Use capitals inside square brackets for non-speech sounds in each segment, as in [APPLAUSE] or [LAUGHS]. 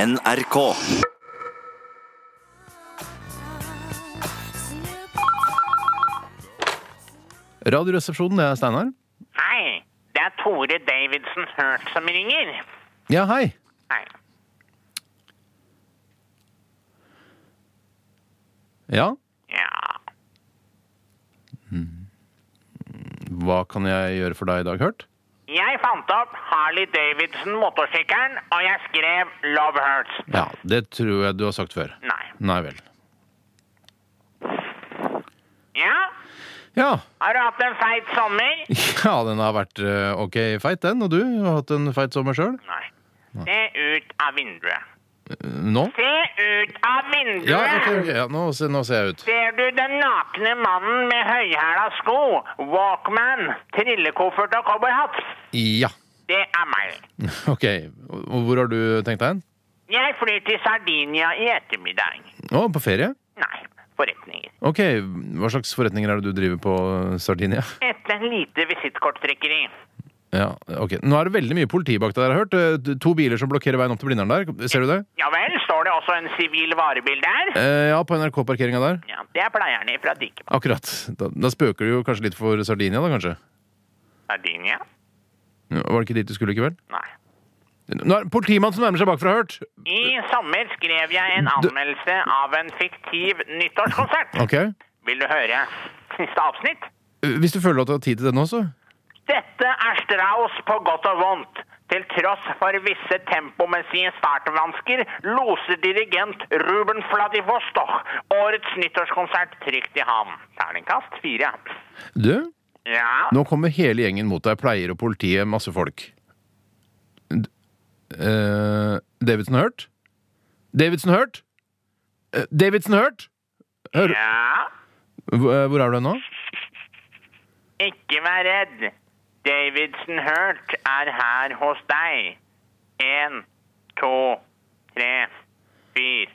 NRK. Radioresepsjonen, det er Steinar. Hei, det er Tore Davidsen Hurt som ringer. Ja, hei! Hei. Ja, Ja, hva kan jeg gjøre for deg i dag, Hørt? jeg fant opp Harley Davidson motorsykkelen, og jeg skrev Love Hurts. Ja, det tror jeg du har sagt før. Nei. Nei vel. Ja, Ja, [LAUGHS] har du hatt en feit sommer? ja den har vært eh, ok feit, den. Og du har hatt en feit sommer sjøl? Nei. Se ut av vinduet. Eh, Nå? Se ut av vinduet! Ja, ok, ok, ja nå, ser, nå ser jeg ut. Ser du den nakne mannen med høyhæla sko, Walkman, trillekoffert og cowboyhatt? Ja. [LAUGHS] Det er meg. Ok. Og hvor har du tenkt deg hen? Jeg flyr til Sardinia i ettermiddag. Å, på ferie? Nei, forretninger. Ok, hva slags forretninger er det du driver på eh, Sardinia? Etter en lite visittkorttrekkeri. Ja, ok. Nå er det veldig mye politi bak deg, har jeg hørt. Eh, To biler som blokkerer veien opp til Blindern der. Ser du det? Ja vel, står det også en sivil varebil der? Eh, ja, på NRK-parkeringa der. Ja, det er pleierne fra Dikeberg. Akkurat. Da, da spøker du jo kanskje litt for Sardinia, da kanskje? Sardinia? Ja, Var det ikke dit du skulle likevel? Nei. Nå er det en politimann som nærmer seg bakfra, hørt! I sommer skrev jeg en anmeldelse av en fiktiv nyttårskonsert. Ok. Vil du høre siste avsnitt? Hvis du føler at du har tid til det nå, så. Dette er Strauss på godt og vondt. Til tross for visse tempomessige startvansker loser dirigent Ruben Vladivostok årets nyttårskonsert trygt i havn. Terningkast fire. Du, Ja, nå kommer hele gjengen mot deg. Pleier og politiet, masse folk. D- eh, Davidsen hørt? Davidsen hørt? Eh, Davidsen hørt? Hør, ja. Hvor eh, hvor er du nå? Ikke vær redd. Davidsen Hurt er her hos deg. En, to, tre, fire.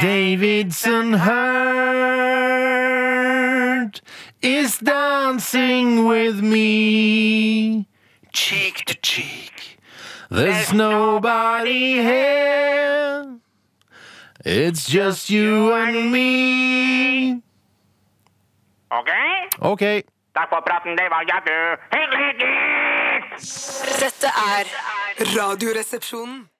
Davidson Hurt is dancing with me, cheek to cheek. There's nobody here, it's just you and me. OK? Ok. Takk for praten, det var jeg, du. Hyggelig! Dette er Radioresepsjonen.